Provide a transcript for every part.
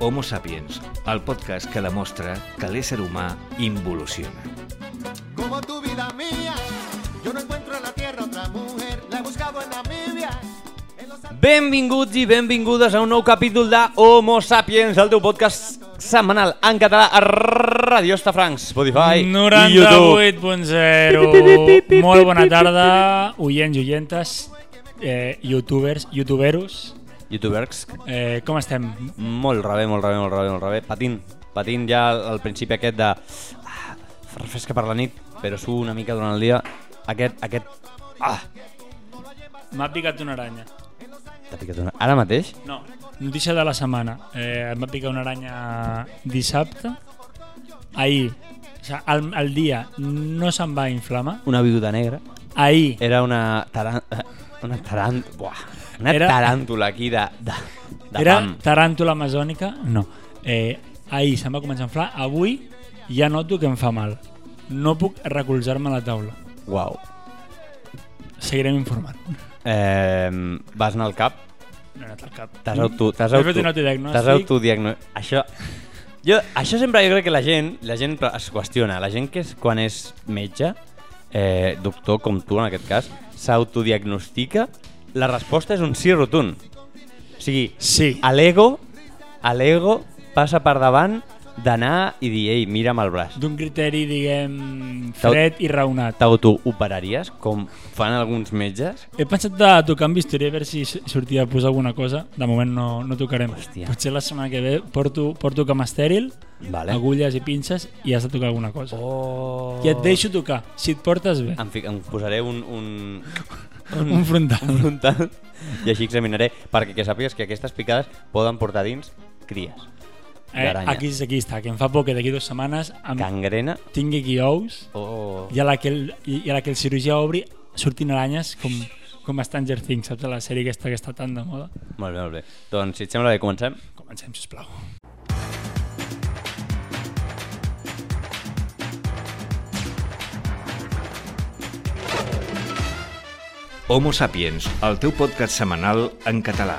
Homo Sapiens, el podcast que demostra que l'ésser humà involuciona. Como tu vida mía, yo no encuentro en la tierra otra mujer. La he buscado en Namibia. En los Andes. Benvinguts i benvingudes a un nou capítol de Homo Sapiens, el teu podcast setmanal en català a Radio Estafrancs, Spotify i YouTube. 98.0 Molt bona tarda, oients i oientes, eh, youtubers, youtuberos. Youtubergs. Eh, com estem? Molt rebé, molt rebé, molt rebé, molt rebé. Patint, patint ja al principi aquest de... Ah, refresca per la nit, però su una mica durant el dia. Aquest, aquest... Ah, M'ha picat una aranya. t'ha picat una... Ara mateix? No, notícia de la setmana. Eh, em va picar una aranya dissabte. Ahir, o sigui, el, el dia no se'm va inflamar. Una viuda negra. Ahir, Era una taran... Una tarant... Buah, una Era- taràntula aquí de... de, de era pam. taràntula amazònica? No. Eh, ahir se'm va començar a inflar. Avui ja noto que em fa mal. No puc recolzar-me a la taula. Uau. Seguirem informant. Eh, vas anar al cap, No he anat al cap. t'has auto... T'has Mm. He auto... fet un autodiagnòstic. T'has autodiagno... Això... Jo, això sempre jo crec que la gent, la gent es qüestiona. La gent que és, quan és metge, eh, doctor com tu en aquest cas, s'autodiagnostica, la resposta és un sí rotund. O sigui, Sí. a l'ego, a l'ego passa per davant d'anar i dir, ei, mira'm el braç. D'un criteri, diguem, fred i raonat. T'autooperaries, com fan alguns metges? He pensat de tocar amb bisturí a veure si s- sortia a posar alguna cosa. De moment no, no tocarem. Hòstia. Potser la setmana que ve porto, porto cam estèril, Vale. agulles i pinces i has de tocar alguna cosa. Oh. I et deixo tocar, si et portes bé. Em, fic, em posaré un, un, Un frontal. un frontal i així examinaré, perquè que sàpigues que aquestes picades poden portar dins cries. Eh, d'aranya. aquí, aquí està, que em fa por que d'aquí dues setmanes em Gangrena Oh, tingui aquí ous o... i a la que el, i i a la que el cirurgià obri surtin aranyes com, com a Stranger Things, saps? La sèrie aquesta que està tan de moda. Molt bé, molt bé. Doncs, si et sembla bé, comencem. Comencem, sisplau. Homo Sapiens, el teu podcast setmanal en català.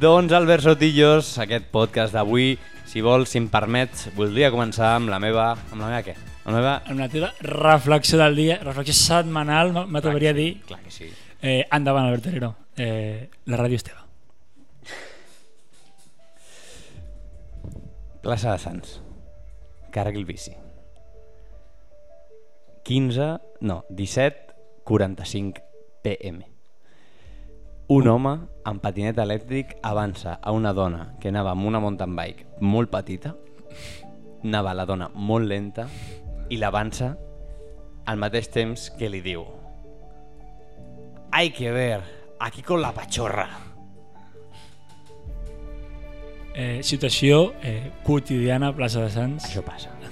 Doncs, Albert Sotillos, aquest podcast d'avui, si vols, si em permets, voldria començar amb la meva... Amb la meva què? Amb la meva... Amb la teva reflexió del dia, reflexió setmanal, m- m'atreviria a dir... Clar ah, que sí. Eh, endavant, Albert Herrero. Eh, la ràdio és teva. Plaça de Sants. Carregui el bici. 15, no, 17.45 PM. Un home amb patinet elèctric avança a una dona que anava amb una mountain bike molt petita, anava la dona molt lenta i l'avança al mateix temps que li diu Hay que ver, aquí con la pachorra. Eh, situació eh, quotidiana a plaça de Sants. Això passa. passa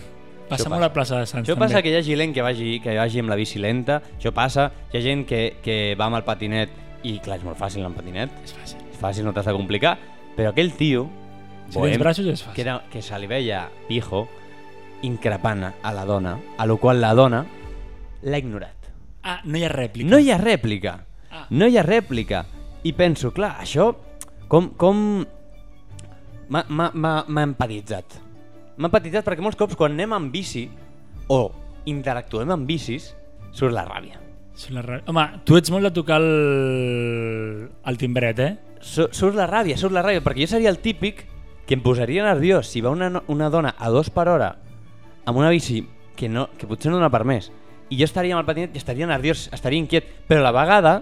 això molt passa. a plaça de Sants, Això Doncs també. passa que hi ha gent que vagi, que vagi amb la bici lenta, això passa, hi ha gent que, que va amb el patinet i clar, és molt fàcil amb patinet, És fàcil. és fàcil, no t'has de complicar, però aquell tio, Si tens braços és fàcil. que, era, que se li veia pijo, increpant a la dona, a la qual la dona l'ha ignorat. Ah, no hi ha rèplica. No hi ha rèplica. Ah. No hi ha rèplica. I penso, clar, això com... com... m'ha- m'ha- M'ha m'ha empatitzat. M'ha empatitzat perquè molts cops quan anem amb bici o interactuem amb bicis, surt la ràbia. Són la ràdio. Home, tu ets molt de tocar el, el timbret, eh? Su- Surt la ràbia, surt la ràbia, perquè jo seria el típic que em posaria nerviós si va una, no- una dona a dos per hora amb una bici que, no, que potser no dona per més i jo estaria amb el patinet i estaria nerviós, estaria inquiet, però a la vegada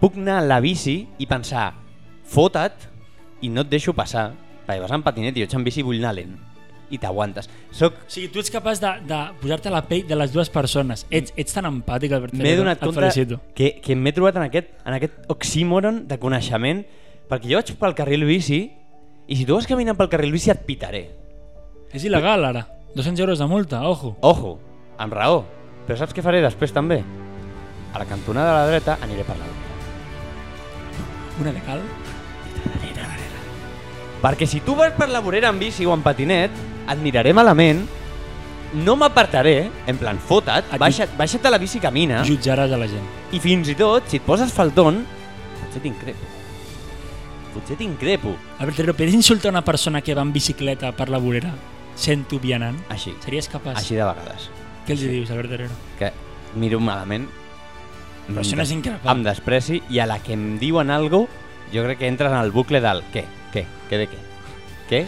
puc anar a la bici i pensar fota't i no et deixo passar perquè vas amb patinet i jo ets amb bici i vull anar lent i t'aguantes. Soc O sigui, tu ets capaç de, de posar-te a la pell de les dues persones. Ets, ets tan empàtic, Albert M'he Herrero. donat Et compte felicito. que, que m'he trobat en aquest, en aquest oxímoron de coneixement, perquè jo vaig pel carril bici i si tu vas caminant pel carril bici et pitaré. És il·legal, ara. 200 euros de multa, ojo. Ojo, amb raó. Però saps què faré després també? A la cantonada de la dreta aniré per l'altra. Una de cal. Perquè si tu vas per la vorera amb bici o amb patinet, et miraré malament no m'apartaré, en plan, fota't, Aquí- baixa, baixa't a la bici i camina, Jutjaràs a la gent. i fins i tot, si et poses falton, potser t'increpo. Potser t'increpo. Albert Rivero, podries insultar una persona que va en bicicleta per la vorera sent-ho vianant? Així. Series capaç? Així de Mm, vegades. Què els hi dius, Albert Rivero? Que miro malament. mm, Però això no és increpar. Em despreci i a la que em diuen algo, jo crec que entres en el bucle del què, què, què de què, què, què,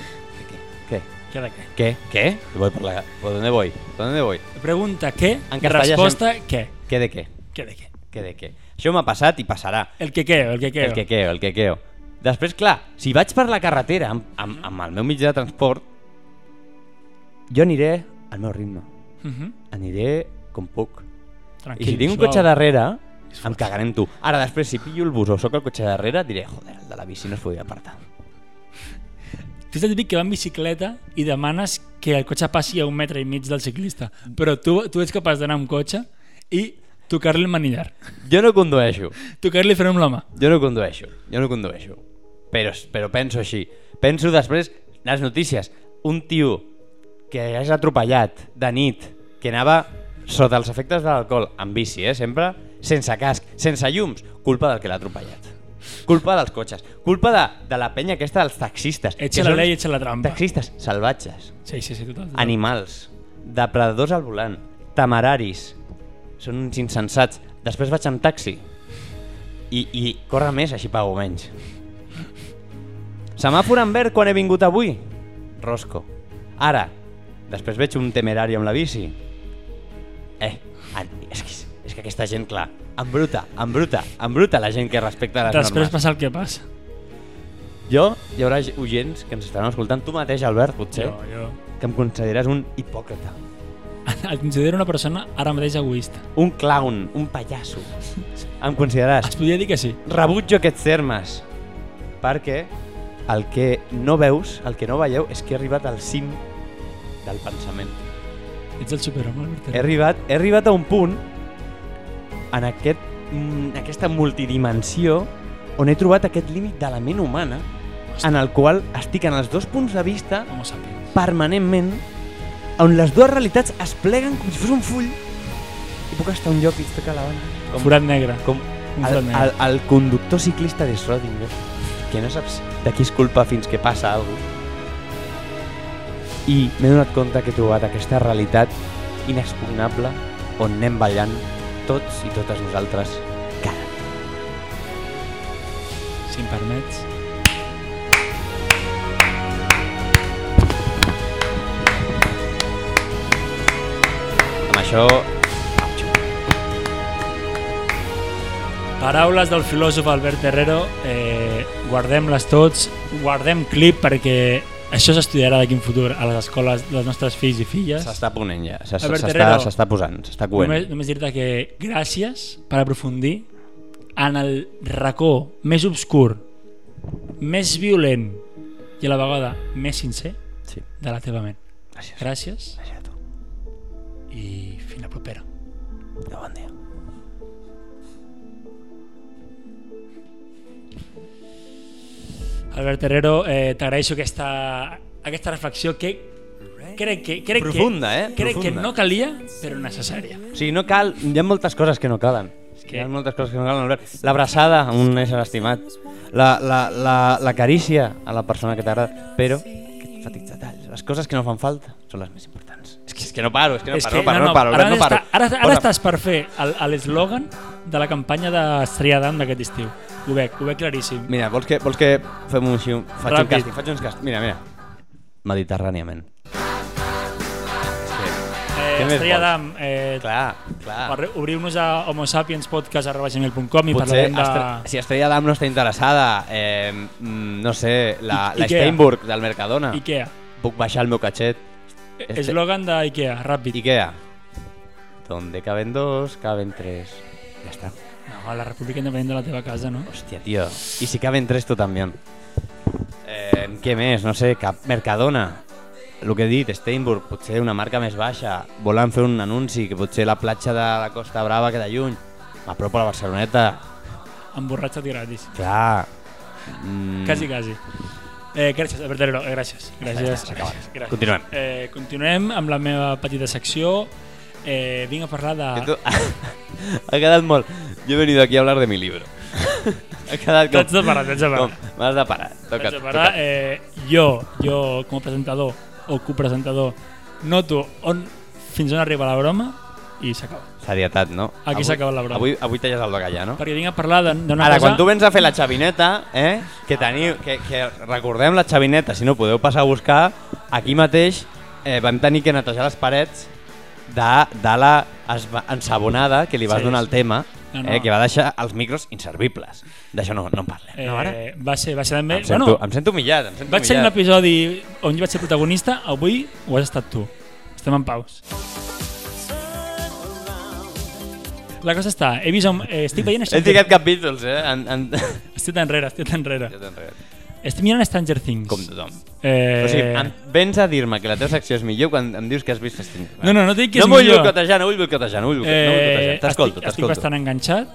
què, Què de què? què, què, I voy por la... ¿Por dónde voy? ¿Por dónde voy? Pregunta què, En castellà resposta què. ¿Qué de qué? Què de què? ¿Qué de qué? Això m'ha passat i passarà. El que queo, el que queo. El quequeo, el quequeo. Després, clar, si vaig per la carretera amb, amb, amb el meu mitjà de transport, jo aniré al meu ritme. Mhm. Aniré com puc. I Tranquil, si tinc un suau. cotxe darrere, em cagaré amb tu. Ara, després, si pillo el bus o soc el cotxe darrere, diré, joder, el de la bici no es podia apartar. Tu ets el típic que va en bicicleta i demanes que el cotxe passi a un metre i mig del ciclista, però tu, tu ets capaç d'anar amb cotxe i tocar-li el manillar, Jo no condueixo. tocar-li frenum la mà. Jo no condueixo, jo no condueixo. Però, però penso així. Penso després, les notícies, un tio que és atropellat de nit, que anava sota els efectes de l'alcohol, amb bici, eh, sempre, sense casc, sense llums, culpa del que l'ha atropellat. Culpa dels cotxes, culpa de, de la penya aquesta dels taxistes. Echa que la són ley, echa la trampa. Taxistes salvatges, Sí, sí, sí, total. total. animals, depredadors al volant, temeraris, són uns insensats. Després vaig amb taxi i, i corre més, així pago menys. Semàfor en verd quan he vingut avui? Rosco. Ara, després veig un temerari amb la bici. Eh, en, és, que, és que aquesta gent, clar, embruta, embruta, embruta la gent que respecta les Després normes. passa el que passa. Jo, hi haurà oients que ens estaran escoltant, tu mateix, Albert, potser, Jo, jo. que em consideres un hipòcrita. Et considero una persona ara mateix egoista. un clown, un pallasso. Em consideraràs. Es podria dir que sí. Rebutjo aquests termes. Perquè el que no veus, el que no veieu, és que he arribat al cim del pensament. Ets el superhome, Albert. He arribat, he arribat a un punt en aquest, en aquesta multidimensió on he trobat aquest límit de la ment humana en el qual estic en els dos punts de vista Homo sapiens. permanentment on les dues realitats es pleguen com si fos un full i puc estar a un lloc i estic a la banda. Com, Forat negre. com Un el, forat negre. el, el conductor ciclista de Schrödinger, que no saps de qui és culpa fins que passa alguna cosa. I m'he donat compte que he trobat aquesta realitat inexpugnable on anem ballant tots i totes nosaltres cada dia. Si em permets. Amb això... Paraules del filòsof Albert Herrero. Eh, Guardem-les tots. Guardem clip perquè això s'estudiarà d'aquí en futur a les escoles dels nostres fills i filles. S'està ponent ja, s'es- Albert s'està Herrero. s'està posant, s'està coent. Només, només dir-te que gràcies per aprofundir en el racó més obscur, més violent i a la vegada més sincer Sí, de la teva ment. gràcies. Gràcies Gràcies a tu. i fins la propera. De bon dia. Albert Herrero, eh, t'agraeixo aquesta, aquesta reflexió que crec que... Crec Profunda, que, eh? Crec Profunda. que no calia, però necessària. O sigui, no cal, hi ha moltes coses que no calen. que- Hi ha moltes coses que no calen. Albert. L'abraçada a un ésser estimat, la, la, la, la carícia a la persona que t'agrada, però aquests petits detalls, les coses que no fan falta són les més importants. És que, és que no paro, és que no És paro, que- no paro, no paro, ara, Albert, no paro. Està, ara, ara Posa- estàs per fer el- a l'eslògan de la campanya d'Estrella d'Am d'aquest estiu. Ho veig, ho vec claríssim. Mira, vols que, vols que fem un xiu? Faig Ràpid. un càsting, faig uns càstings. Mira, mira. Mediterràniament. És que, Eh, Què més Estrella vols? d'Am, eh, clar, clar. arre- obriu-nos a homosapienspodcast.com i Potser parlarem de... Estre- si Estrella Damm no està interessada, eh, mm, no sé, la, I- la Ikea. Steinburg del Mercadona. Ikea. Puc baixar el meu catxet. Este- Eslògan d'Ikea, ràpid. Ikea. Donde caben dos, caben tres. Ya está. No, la república independent de la teva casa, no? Hostia, tío. Y si caben tres, tú también. Eh, ¿Qué més? No sé, cap Mercadona. Lo que he dit, Steinburg, potser una marca més baixa. Volen fer un anunci, que potser la platja de la Costa Brava queda lluny. M'apropo a la Barceloneta. Emborratxa't gratis. Clar. Mm, Quasi, quasi. Eh, gràcies, Albertero, eh, gràcies. Gràcies. s'ha acabat. gràcies. Continuem. Eh, continuem amb la meva petita secció. Eh, vinc a parlar de... ha quedat molt. Yo he venido aquí a hablar de mi libro. ha quedat com... T'haig de parar, t'haig de parar. com, M'has de parar. Toca, Vaig a parar. toca. Eh, jo, jo com a presentador o copresentador, noto on, fins on arriba la broma i s'acaba. Serietat, no? Aquí Avui- s'acaba la broma. Avui, avui talles el doga ja, no? Perquè vinc a parlar de- d'una Ara, cosa... quan tu vens a fer la xavineta, eh, que, teniu, que, que recordem la xavineta, si no podeu passar a buscar, aquí mateix eh, vam tenir que netejar les parets de, de la esba- ensabonada que li vas Sí, donar el sí. tema, No, no, no. no. Eh, que va deixar els micros inservibles. D'això no, no en parlem. Eh, no, ara? va ser, va ser també... Em sento, em sento humillat, em sento vaig ser en un humillat. episodi on jo vaig ser protagonista, avui ho has estat tu. Estem en paus. La cosa està, he vist... On, eh, estic veient... He Stranger- ficat capítols, eh? En, en... Estic enrere, estic enrere. Jo t'enredo. Estic mirant Stranger Things. Com tothom. Eh, O sigui, em, vens a dir-me que la teva secció és millor quan em dius que has vist Stranger Things. No, no, no dic que no és vull millor. Eh, boicotejar, no vull boicotejar, no vull boicotejar, no vull boicotejar. T'escolto, estic, estic t'escolto. bastant enganxat.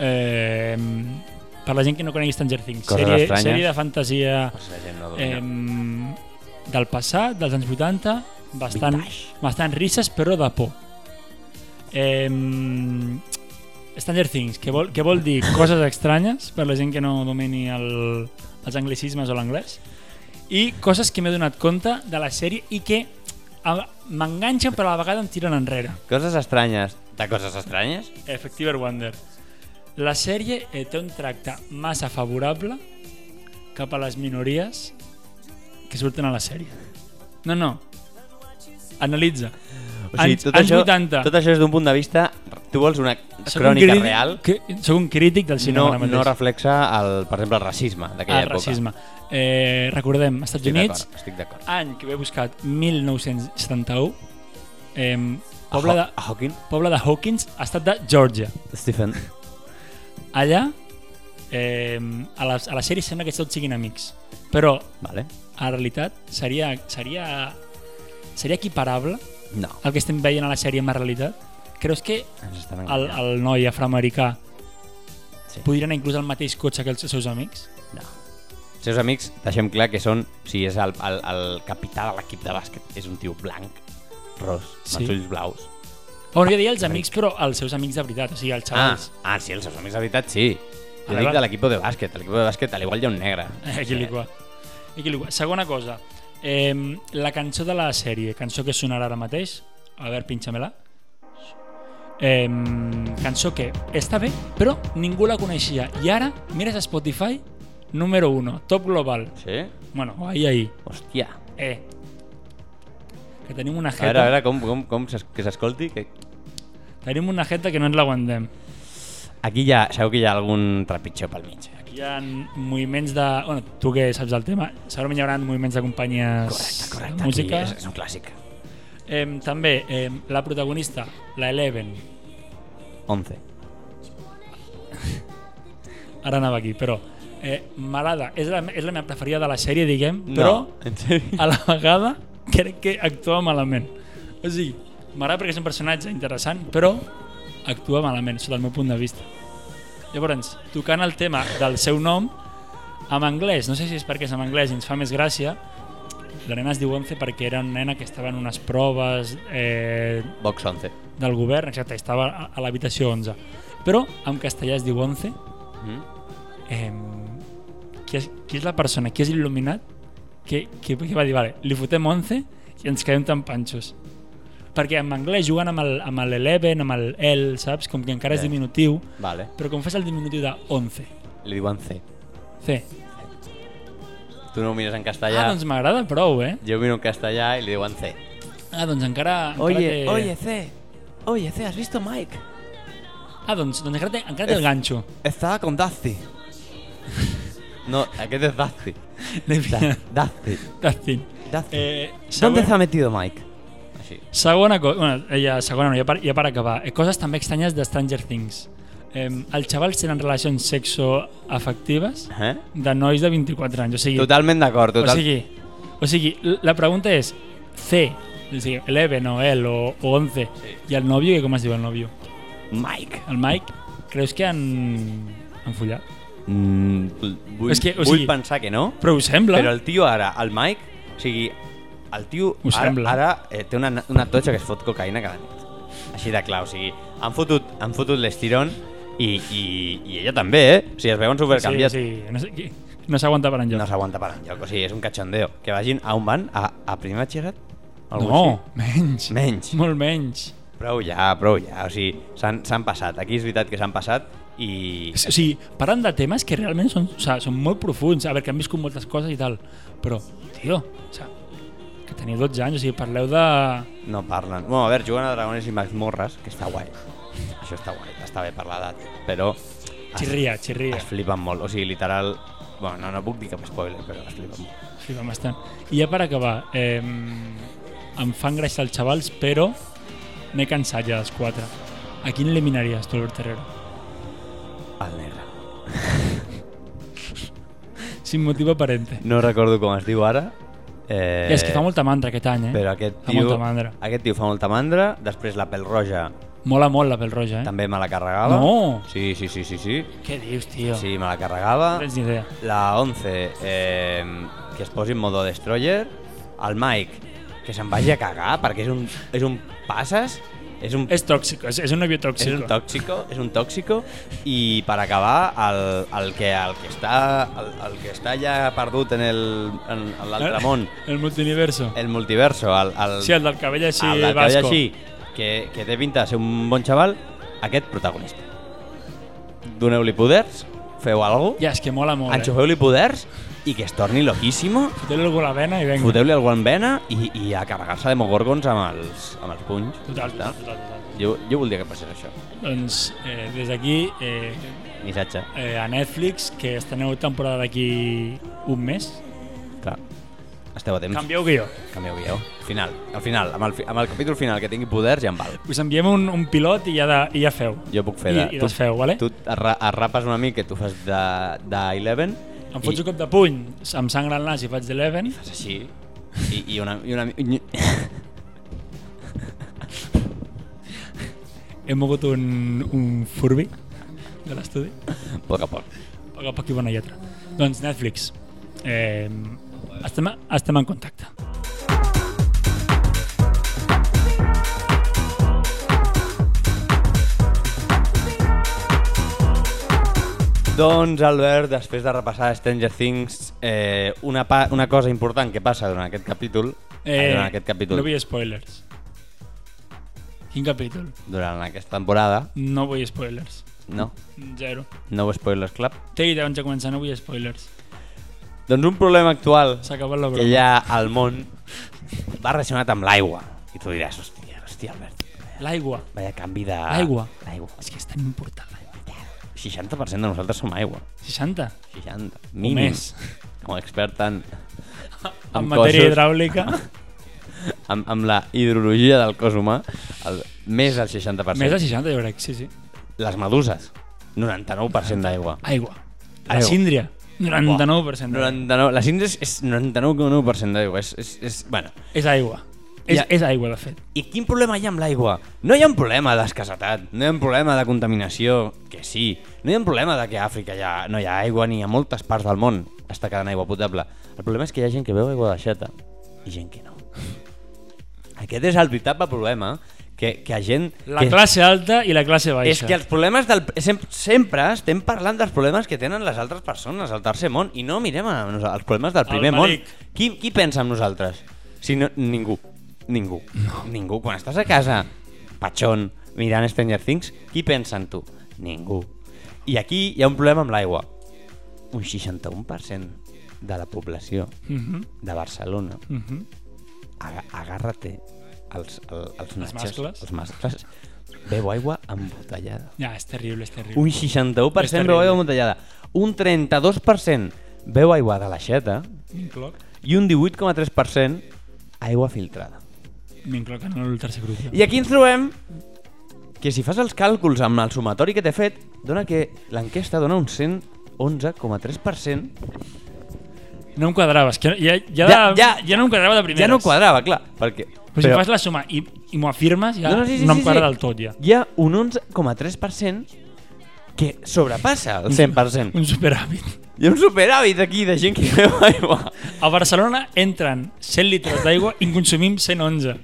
Eh, per la gent que no conegui Stranger Things. Coses sèrie, estranyes. sèrie de fantasia La gent no eh, dorm. del passat, dels anys 80, bastant, Vintage. bastant risses, però de por. Eh, Stranger Things, que vol, que vol dir coses estranyes per la gent que no domini el, els anglicismes o l'anglès i coses que m'he donat compte de la sèrie i que a- m'enganxen però a la vegada em tiren enrere. Coses estranyes. De coses estranyes? Effective Wonder. La sèrie eh, té un tracte massa favorable cap a les minories que surten a la sèrie. No, no. Analitza. O sigui, Anys- tot, anys això, 80. tot això és d'un punt de vista... Tu vols una Soc crònica crític- real Que, soc un crític del si cinema no, ara mateix. Ah, no reflexa, el, per exemple, el racisme d'aquella el època. racisme. Eh, recordem, als Estats Estic Units, d'acord, estic d'acord. any que ho he buscat, 1971, eh, poble, de, A Hawking? poble de Hawkins, estat de Georgia. Stephen. Allà, eh, a, la, a la sèrie sembla que tots siguin amics, però Vale. a la realitat seria, seria, seria equiparable No. el que estem veient a la sèrie amb la realitat? Creus que Ens estan el, enganyant. el noi afroamericà Sí. podria anar inclús al mateix cotxe que els seus amics? No. Els seus amics, deixem clar que són... O sigui, és el, el, el capità de l'equip de bàsquet. És un tio blanc, ros, sí. Sí. amb els ulls blaus. Bueno, jo diria els amics, però els seus amics de veritat, o sigui, els Ah, xavals. ah, sí, els seus amics de veritat, sí. Jo Ara dic va. de l'equip de bàsquet. A l'equip de bàsquet, a l'igual hi ha un negre. Ah. Aquí Eh. li qua. Aquí li qua. Segona cosa, eh, la cançó de la sèrie, cançó que sonarà ara mateix, a veure, pinxa-me-la. Eh, cançó que està bé, però ningú la coneixia. I ara, mires a Spotify, número 1, top global. Sí? Bueno, o ahí, ahí. Hòstia. Eh. Que tenim una A veure, jeta. a veure, com, com, com s'es- que s'escolti. Que... Tenim una jeta que no ens l'aguantem. Aquí ja, segur que hi ha algun trepitjó pel mig. eh? Aquí hi ha moviments de... Bueno, tu que saps el tema, segurament hi haurà moviments de companyies Correcte, correcte. de aquí música. És, és un clàssic. Eh, també, eh, la protagonista, la Eleven, 11. ara anava aquí, però eh, m'agrada, és, la, és la meva preferida de la sèrie, diguem, però en sèrio? a la vegada crec que actua malament. O sigui, m'agrada perquè és un personatge interessant, però actua malament, sota el meu punt de vista. Llavors, tocant el tema del seu nom, en anglès, no sé si és perquè és en anglès i ens fa més gràcia, la nena es diu Once perquè era una nena que estava en unes proves eh, Box 11. del govern, exacte, estava a, a l'habitació 11. Però en castellà es diu Once, Mm? eh, qui, és, qui és la persona, qui és il·luminat, que, que, que va dir, vale, li fotem 11 i ens quedem tan panxos. Perquè en anglès juguen amb el- amb l'Eleven, amb el L, saps? Com que encara és Sí. diminutiu, Vale. però com fas el diminutiu de 11, Li diuen C. C. Tu no ho mires en Ah, castellà. doncs m'agrada prou, eh? Jo ho miro en castellà i li diuen C. Ah, doncs encara... encara té... C. Oye, C, ¿has visto Mike? Ah, doncs, doncs encara, té, encara té el Es- ganxo. Estava con Dusty. No, aquest és Dusty. L'he Da- pillat. Dusty. Dustin. Dusty. Eh, ¿Dónde segona, se ha metido Mike? Així. segona cosa... Bueno, eh, ja, segona no, ja per, ja per acabar. Eh, coses també estranyes de Stranger Things. Eh, els xavals tenen relacions sexoafectives Eh? de nois de 24 anys. O sigui, Totalment d'acord. o Total... sigui, o sigui l- la pregunta és C, o sigui, Eleven o L o, o 11, i el nòvio, que com es diu el nòvio? Mike. El Mike, creus que han, han follat? Mm, vull, És que, o vull sigui, pensar que no, Però ho sembla. però el tio ara, el Mike, o sigui, el tio Ho ara, sembla. ara eh, té una, una totxa que es fot cocaïna cada nit. Així de clar, o sigui, han fotut, han fotut l'estirón i, i, i ella també, eh? O sigui, es veuen sí, supercanviats. sí, no sé qui- no s'aguanta per enlloc. No s'aguanta per enlloc, o sigui, és un cachondeo. Que vagin a on van? A, a primer batxillerat? Algú no menys. així? Menys. Molt menys. Prou ja, prou ja. O sigui, s'han s'han passat. Aquí és veritat que s'han passat i... O sigui, parlen de temes que realment són, o sigui, són molt profuns, a veure, que han viscut moltes coses i tal, però, tio, o sigui, que teniu 12 anys, o sigui, parleu de... No parlen. Bueno, a veure, juguen a dragones i mazmorres, que està guai. Això està guai, està bé per l'edat, però... es- Xirria, xirria. Es flipen molt, o sigui, literal... Bueno, no, no puc dir cap spoiler, però es flipen molt. Sí, va bastant. I ja per acabar, eh, em fan gràcia els xavals, però n'he cansat ja dels quatre. A quin eliminaries tu, Albert Herrero? El negre. Sin motiu aparente. No recordo com es diu ara. Eh... Eh, és que fa molta mandra aquest any, eh? Però aquest Fa tio, molta mandra. aquest tio fa molta mandra, després la pèl roja Mola molt la pèl roja, eh? també me la carregava. No. Sí, sí, sí, sí, sí. Què dius, tio? Sí, me la No carregava. tens ni idea. La 11, eh, que es posi en modo destroyer. El Mike, que se'n vagi a cagar perquè és un, és un passes, és un, És tòxic, és, és un novio tòxic. és un tòxico, és un tòxico. I per acabar, el, el, que, el, que, està, el, el que està ja perdut en el- en en l'altre món, El multiverso. el multiverso, el, el, Eh? Sí, el del cabell així, Ah, el del cabell vasco. així, que, que té pinta de ser un bon xaval, aquest protagonista. Doneu-li poders, feu alguna Ja, és que mola molt, eh? Enxufeu-li poders i que es torni loquíssimo, Foteu-li algú a la vena i vinga. foteu-li algú en vena i, i a carregar-se de mogorgons amb els, amb els punys. Total, Ja total, està. total, total. Jo, jo voldria que passés això. Doncs eh, des d'aquí, eh, Missatge. eh, a Netflix, que estreneu temporada d'aquí un mes. Clar. Esteu a temps. Canvieu guió. Canvieu guió. Final. Al final. Amb el, fi- amb el capítol final que tingui poders ja em val. Us enviem un, un pilot i ja, de, i ja feu. Jo puc fer I, de... i desfeu, vale? Tu et ra- et rapes una mica, tu fas de, de 11. Em fots i- un cop de puny, em sangra el nas i faig d'Eleven. Fas així. I, i una... I una... He mogut un, un furbi de l'estudi. a poc a poc. A poc a poc i bona lletra. Doncs Netflix, eh, estem, estem en contacte. Doncs, Albert, després de repassar Stranger Things, eh, una, pa una cosa important que passa durant aquest capítol, eh, durant aquest capítol, No vull spoilers. Quin capítol? durant aquesta temporada, No vull spoilers. no, Zero. no Spoilers Club, Té idea abans de començar, no vull spoilers. doncs un problema actual S'ha acabat la que broma. hi ha al món va relacionat amb l'aigua. I tu diràs, hòstia, hòstia, Albert, L'aigua. vaya canvi de... L'aigua. L'aigua. És que és tan important l'aigua. 60% de nosaltres som aigua. 60. 60. O Mínim. més. Com a expert en, En, Amb matèria cossos. Ah, hidràulica. amb, amb la hidrologia del cos humà, el, més del 60%. més de 60, jo crec. Sí, sí. Les meduses, 99% d'aigua. Aigua. La Aigua. síndria. 99%. d'aigua. 99, la cinta és, és 99,9% d'aigua. És, és, és, bueno. És aigua. És, Ja. és aigua, de fet. I quin problema hi ha amb l'aigua? No hi ha un problema d'escassetat, no hi ha un problema de contaminació, que sí. No hi ha un problema de que a Àfrica ja no hi ha aigua ni a moltes parts del món està quedant aigua potable. El problema és que hi ha gent que beu aigua de xeta i gent que no. Aquest és el veritable problema que, que a gent... La que, classe alta i la classe baixa. És que els problemes del... sem- Sempre estem parlant dels problemes que tenen les altres persones, al tercer món, i no mirem a nos- els problemes del primer món. Malik. Qui, qui pensa en nosaltres? Si no, ningú. Ningú. No. Ningú. Quan estàs a casa, patxon, mirant Stranger Things, qui pensa en tu? Ningú. I aquí hi ha un problema amb l'aigua. Un 61% de la població Mhm, de Barcelona mhm. aga- agarra-te els, el, els natxes, mascles. els mascles, beu aigua embotellada. Ja, és terrible, és terrible. Un És 61% terrible. beu aigua embotellada. Un 32% beu aigua de l'aixeta M'incloc. i un 18,3% aigua filtrada. M'incloc en el tercer grup. I aquí ens trobem que si fas els càlculs amb el sumatori que t'he fet, dona que l'enquesta dona un 111,3%. No em quadrava. És que ja, ja, Ja- de, ja- ja no em quadrava de primeres. Ja no quadrava, clar, perquè... Però, si fas la suma i, i m'ho afirmes, ja no, no, sí, sí, em quadra del tot, ja. Hi ha un 11,3% que sobrepassa el 100%. Un superàvit. Hi ha un superàvit aquí de gent que beu aigua. A Barcelona entren 100 litres d'aigua i en consumim 111.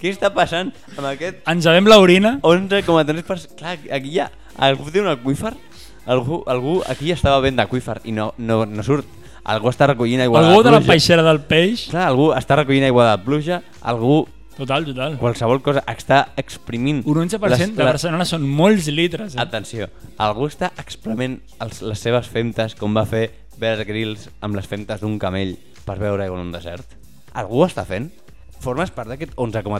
Què està passant amb aquest Ens bevem l'orina Oh, 11,3%? Clar, aquí hi ha... Algú té un aquífer? Algú, algú aquí estava ben d'aquífer i no, no, no surt. Algú està recollint aigua Algú de la pluja. peixera del peix. Clar, algú està recollint aigua de la pluja, algú Total, total. qualsevol cosa està exprimint... Un 11% les- de la- Barcelona són molts litres. Eh? Atenció, algú està exprement els, les seves femtes com va fer Bear Grylls amb les femtes d'un camell per veure aigua en un desert? Algú ho està fent? Formes part d'aquest 11,3% que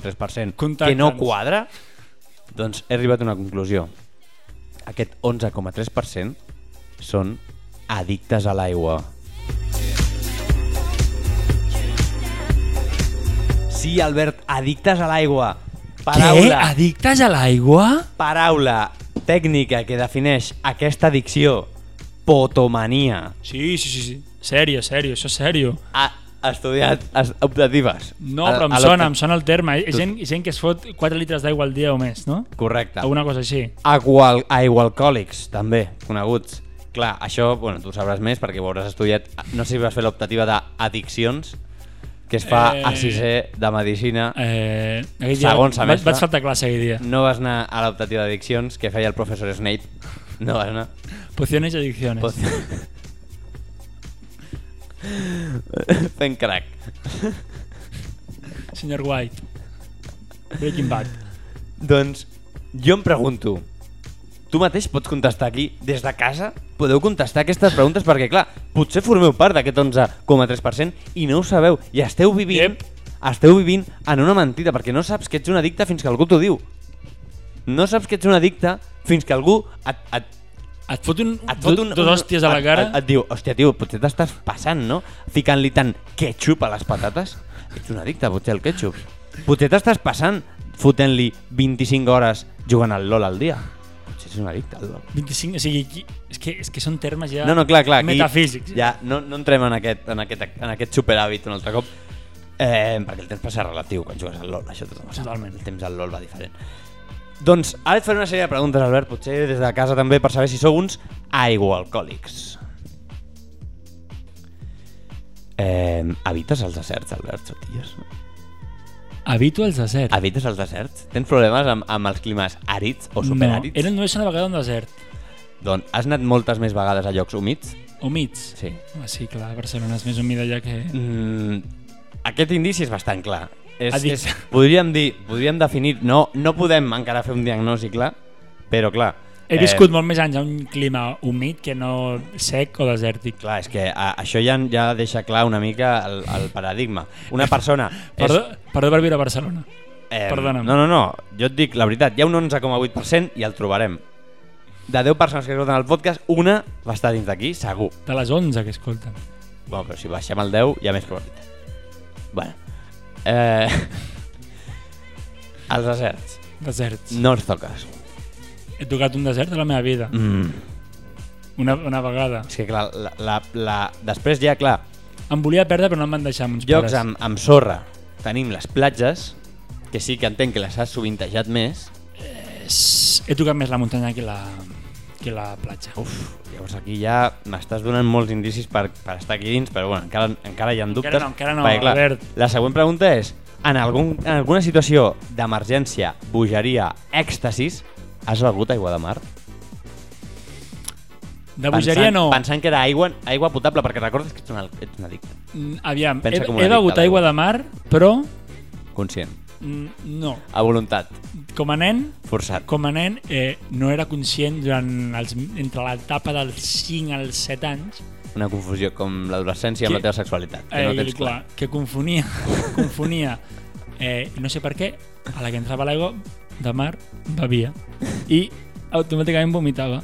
no Contacta'ns. quadra? Doncs he arribat a una conclusió. Aquest 11,3% són addictes a l'aigua. Sí, Albert, addictes a l'aigua. Què? Paraula Addictes a l'aigua? paraula tècnica que defineix aquesta addicció, potomania, Sí, sí, sí, sí. Sèrio, sèrio, això és sèrio. ha estudiat es- optatives. No, A- però em a l'opta- sona, em sona el terme. Hi ha gent, hi ha gent que es fot 4 litres d'aigua al dia o més, no? Correcte. Alguna cosa així. Agual, aigualcòlics, també, coneguts. Clar, això, bueno, tu ho sabràs més perquè ho hauràs estudiat, no sé si vas fer l'optativa d'addiccions, que es fa Eh. a sisè de Medicina. Eh, aquell Segon dia, vaig, semestre. vaig faltar classe aquell dia. No vas anar a l'optativa d'addiccions que feia el professor Snape. No vas anar. Pociones i adicciones. Pot... Fent crack. Senyor White. Breaking Bad. Doncs jo em pregunto, tu mateix pots contestar aquí, des de casa? Podeu contestar aquestes preguntes perquè, clar, potser formeu part d'aquest 11,3% i no ho sabeu, i esteu vivint, Yep. esteu vivint en una mentida, perquè no saps que ets un addicte fins que algú t'ho diu. No saps que ets un addicte fins que algú et, et, Et fot un, et fot un, dos un- hòsties a la et- cara. Et, et diu, hòstia, tio, potser t'estàs passant, no? Ficant-li tant ketchup a les patates. Ets un addicte, potser, al ketchup. Potser t'estàs passant fotent-li 25 hores jugant al LOL al dia. Potser ets un addicte al LOL. 25, o sigui, aquí, és, que, és que són termes ja No, no, clar, clar. Aquí metafísics. Ja, no, no entrem en aquest, en aquest, en aquest superhàbit un altre cop. Eh, perquè el temps passa relatiu quan jugues al LOL, això tothom ho sap. Totalment. El temps al LOL va diferent. Doncs ara et faré una sèrie de preguntes, Albert, potser des de casa també, per saber si sou uns aigualcòlics. Eh, habites els deserts, Albert Sotillas? Habito els deserts. Habites els deserts? Tens problemes amb, amb els climes àrids o superàrids? No, eren només una vegada un desert. Doncs has anat moltes més vegades a llocs humits? Humits. Sí. Home, sí, clar, Barcelona és més humida ja que... Mm, aquest indici és bastant clar. És, Addic- és, podríem dir, podríem definir, no, no podem encara fer un diagnosi clar, però clar. He eh, viscut molt més anys a un clima humit que no sec o desèrtic. Clar, és que a, això ja, ja deixa clar una mica el, el paradigma. Una persona... Perdó, perdó per viure a Barcelona. és, eh, perdona'm. No, no, no, jo et dic la veritat, hi ha un 11,8% i el trobarem. De 10 persones que escolten el podcast, una va estar dins d'aquí, segur. De les 11 que escolten. Bueno, però si baixem al 10 hi ha més probabilitat. Bueno. Eh, els deserts. Deserts. No els toques. He tocat un desert a la meva vida. Mm. Una, una vegada. És que clar, la, la, la... després ja, clar, Em volia perdre però no em van deixar amb uns llocs pares. amb, amb sorra tenim les platges, que sí que entenc que les has sovintejat més. És- He tocat més la muntanya que la, que la platja. Uf, Llavors aquí ja m'estàs donant molts indicis per, per estar aquí dins, però bueno, encara, encara hi ha dubtes. no, encara no, perquè, clar, Albert. La següent pregunta és, en, algun, en alguna situació d'emergència, bogeria, èxtasis, has begut aigua de mar? de bogeria Pensant- no. Pensant que era aigua, aigua potable, perquè recordes que ets un, al- ets un addicte. Mm, Aviam, he, Pensa com un he addicte begut a l'aigua. aigua de mar, però Conscient. mm, no. A voluntat. Com a nen, Forçat. com a nen eh, no era conscient durant els, entre l'etapa dels 5 als 7 anys Una confusió com l'adolescència amb Que- la teva sexualitat. Que no eh, tens clar. que confonia, confonia eh, no sé per què, a la que entrava l'aigua de mar, bevia i automàticament vomitava.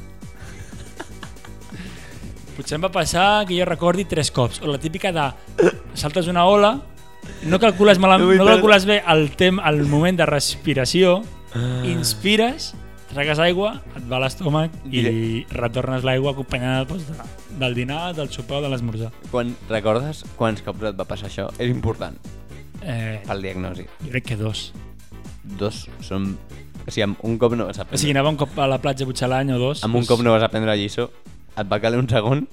Potser em va passar que jo recordi tres cops, o la típica de saltes una ola, no calcules, mal, Vull no perdre- calcules bé el, tem, el moment de respiració, Ah. inspires, tragues aigua, et va a l'estómac i retornes l'aigua acompanyada doncs, de, del dinar, del sopar o de l'esmorzar. Quan recordes quants cops et va passar això? És important Eh, pel diagnosi. jo crec que dos. Dos són O sigui, amb un cop no vas O sigui, aprendre, anava un cop a la platja potser l'any o dos. amb un doncs- cop no vas aprendre la lliçó, et va caler un segon.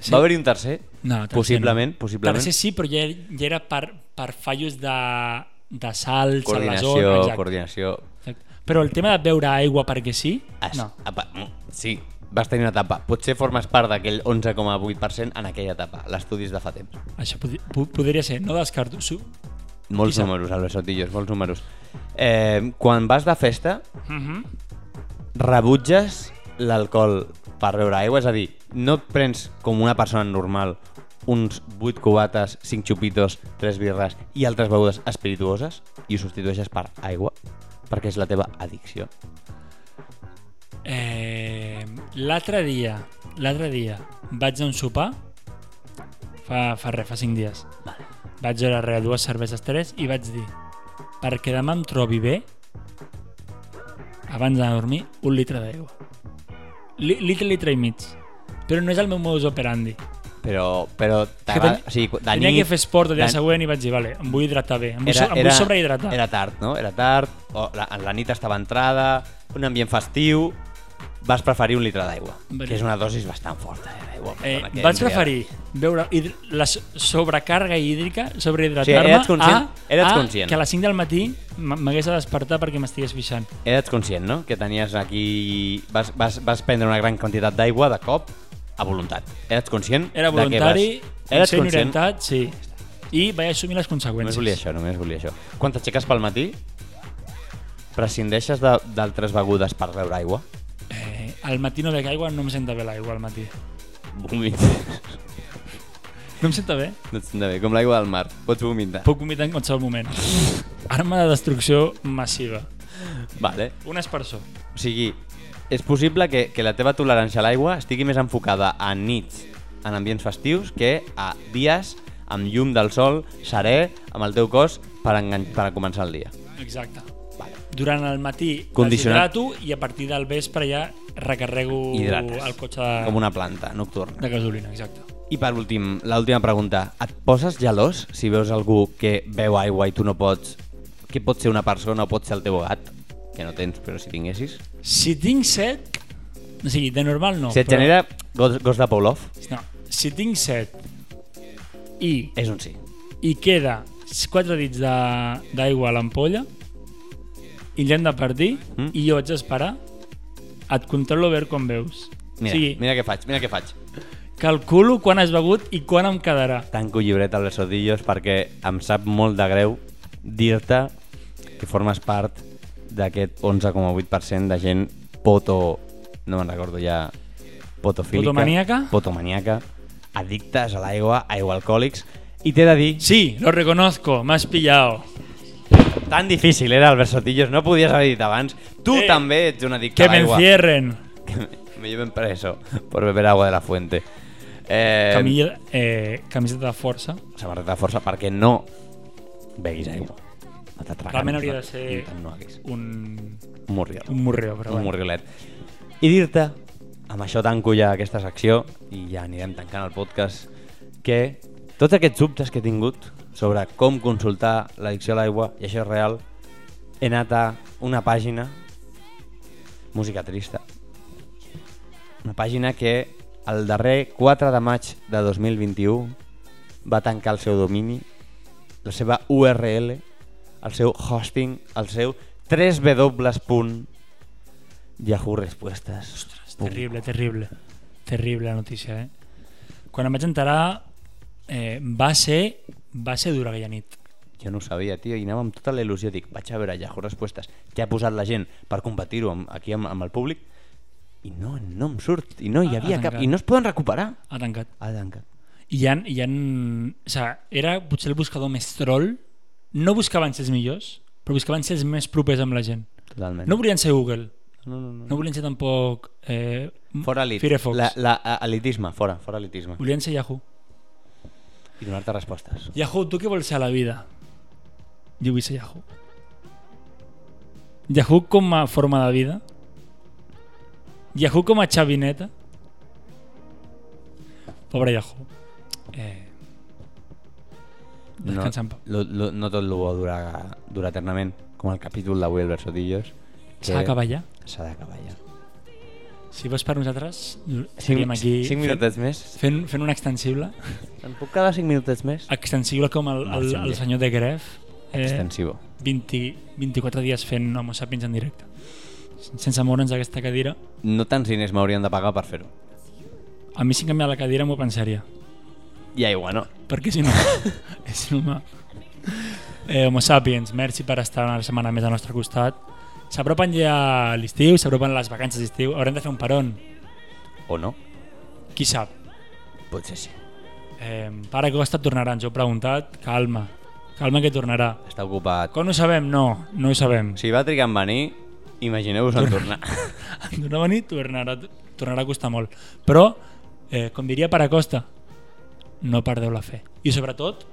Sí. Va haver-hi un tercer? No, tercer possiblement, no. possiblement. Tercer sí, però ja, ja era per, per fallos de, de salts, a la coordinació, zona, exacte, coordinació. exacte. Però el tema de beure aigua perquè sí, Es, no. apa, mm, sí, vas tenir una etapa. Potser formes part d'aquell 11,8% en aquella etapa, l'estudis de fa temps. Això pod po- podria ser, no descarto. Su Molts Qui sap? números, Albert Sotillos, molts números. Eh, quan vas de festa, rebutges l'alcohol per beure aigua, és a dir, no et prens com una persona normal uns 8 cubates, 5 xupitos, 3 birres i altres begudes espirituoses i ho substitueixes per aigua perquè és la teva addicció. eh, l'altre dia, l'altre dia vaig a un sopar, fa, fa res, fa cinc dies. Vale. Vaig veure res, dues cerveses, tres, i vaig dir, perquè demà em trobi bé, abans d'anar a dormir, un litre d'aigua. Li litre, litre i mig. Però no és el meu modus operandi. Però, però tenia- t'agrada... O sigui, de Tenia nit- que fer esport el dia de- següent i vaig dir, vale, em vull hidratar bé, em vull, so- em vull sobrehidratar. Era tard, no? Era tard, o la, la nit estava entrada, un ambient festiu... Vas preferir un litre d'aigua, Vale. que és una dosis bastant forta eh, d'aigua. Eh, perdona, que vaig em ria. preferir veure hid- la so- sobrecàrrega hídrica, O sigui, sobrehidratar-me, eres conscient- a, eres a conscient. que a les 5 del matí m- m'hagués de despertar perquè m'estigués fixant. Eres conscient, no? Que tenies aquí... Vas, vas, vas prendre una gran quantitat d'aigua de cop a voluntat. Eres conscient? Era de que voluntari, vas- Eres conscient i orientat, conscient? sí. I vaig assumir les Només conseqüències. volia això, només volia això. Quan t'aixeques pel matí, prescindeixes de- d'altres begudes per beure aigua? Eh, al matí no bec aigua, no em senta bé l'aigua al matí. Vomites. No em senta bé? No et senta bé, com l'aigua del mar. Pots vomitar. Puc vomitar en qualsevol moment. Arma de destrucció massiva. Vale. Un espersor. O sigui, és possible que, que la teva tolerància a l'aigua estigui més enfocada a nits en ambients festius que a dies amb llum del sol, serè, amb el teu cos per, engan- per començar el dia. Exacte. Vale. Durant el matí Condicionat. deshidrato i a partir del vespre ja recarrego Hidrates. el cotxe de, Com una planta nocturna. de gasolina, exacte. I per últim, l'última pregunta. Et poses gelós si veus algú que beu aigua i tu no pots? Que pot ser una persona o pot ser el teu gat? Que no tens, però si tinguessis. Si tinc set, o sigui, de normal no. Si et però- genera gos, gos de Pavlov, No, si tinc set i, és un sí. i queda quatre dits de- d'aigua a l'ampolla i l'hem de partir Mm. i jo haig d'esperar, et controlo a veure com veus. Mira, o sigui, mira què faig, mira què faig. calculo quan has begut i quan em quedarà. tanco llibret a les odillos perquè em sap molt de greu dir-te que formes part d'aquest 11,8% de gent poto... no me'n recordo ja... potofílica... Potomaníaca? Potomaníaca, addictes a l'aigua, aigua alcohòlics, i t'he de dir, Sí, lo reconozco, m'has pillado. tan difícil era el Versotillos, no podies haver dit abans, tu Eh, també ets un addicte Que a me l'aigua. encierren. Me lleven preso por beber agua de la fuente. Eh, Camilla, eh, camiseta de força. samarreta de força perquè no beguis aigua. No t'atraguis. Realment hauria no- de ser i tant No haguis. un, Un morriol. un morreo, però Un bueno. morriolet. I dir-te, amb això tanco ja aquesta secció i ja anirem tancant el podcast, que tots aquests dubtes que he tingut sobre com consultar l'addicció a l'aigua, i això és real, he anat a una pàgina, música trista, una pàgina que el darrer 4 de maig de 2021 va tancar el seu domini, la seva URL, el seu hosting, el seu 3w.yahoo respuestes. Ostres, terrible, terrible. Terrible la notícia, eh? Quan em vaig enterar, eh, va ser, va ser dura aquella nit. Jo no ho sabia, tio, i anava amb tota la il·lusió. Dic, vaig a veure Yahoo Respuestes. Què ha posat la gent per competir-ho amb, aquí amb, amb el públic? I no, no em surt. I no hi Ha- Ah, ha havia cap. tancat. I no es poden recuperar. Ha tancat. Ha tancat. I hi ha, hi ha, o sigui, era potser el buscador més troll. No buscaven ser els millors, però buscaven ser els més propers amb la gent. Totalment. No volien ser Google, no, no, no. no volien ser tampoc eh, Fora elit. Firefox. La, la, a- elitisme, fora, fora elitisme. Volien ser Yahoo. I donar-te respostes. Yahoo, tu què vols ser a la vida? Jo vull ser Yahoo. Yahoo com a forma de vida? Yahoo com a xavineta? Pobre Yahoo. Eh, No, descansa en pau. lo, lo, no tot lo bo dura, dura eternament, com el capítol d'avui, el Versotillos. S'ha d'acabar ja. S'ha d'acabar ja. Si vols per nosaltres, Cinc, seguim aquí fent, cinc minutets més. fent, fent un extensible. Em puc quedar cinc minutets més? Extensible com el, No, el, sí, el sí. senyor de Gref. Eh, Extensivo. 20, 24 dies fent Homo Sapiens en directe. Sense moure'ns d'aquesta cadira. No tants diners m'haurien de pagar per fer-ho. A mi si em canvia la cadira m'ho pensaria. Ja, igual no. Perquè si no, és inhumà. Eh, Homo Sapiens, merci per estar una setmana més al nostre costat. S'apropen ja l'estiu, s'apropen les vacances d'estiu. Haurem de fer un peron. O no? Qui sap? Potser sí. Eh, pare Costa tornarà, ens ho heu preguntat. Calma, calma que tornarà. Està ocupat. Com ho sabem? No, no ho sabem. Si va trigar en venir, imagineu-vos en tornar. D'una venir tornarà, tornarà a costar molt. Però, eh, com diria Pare Costa, no perdeu la fe. I sobretot,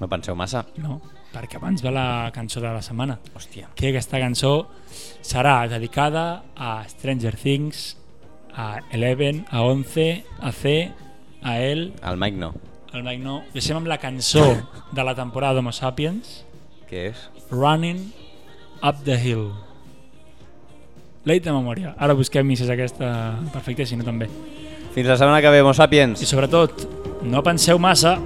No penseu massa. no, perquè abans va la cançó de la setmana. Hòstia. que aquesta cançó serà dedicada a Stranger Things, a Eleven, a 11, a C, a El, El Mike no. al Mike No. Deixem amb la cançó de la temporada d'Homo Sapiens, Què és? Running Up the Hill. Leit de memòria. Ara busquem misses aquesta perfecta, si no també. Fins la setmana que ve, Homo Sapiens. I sobretot, no penseu massa,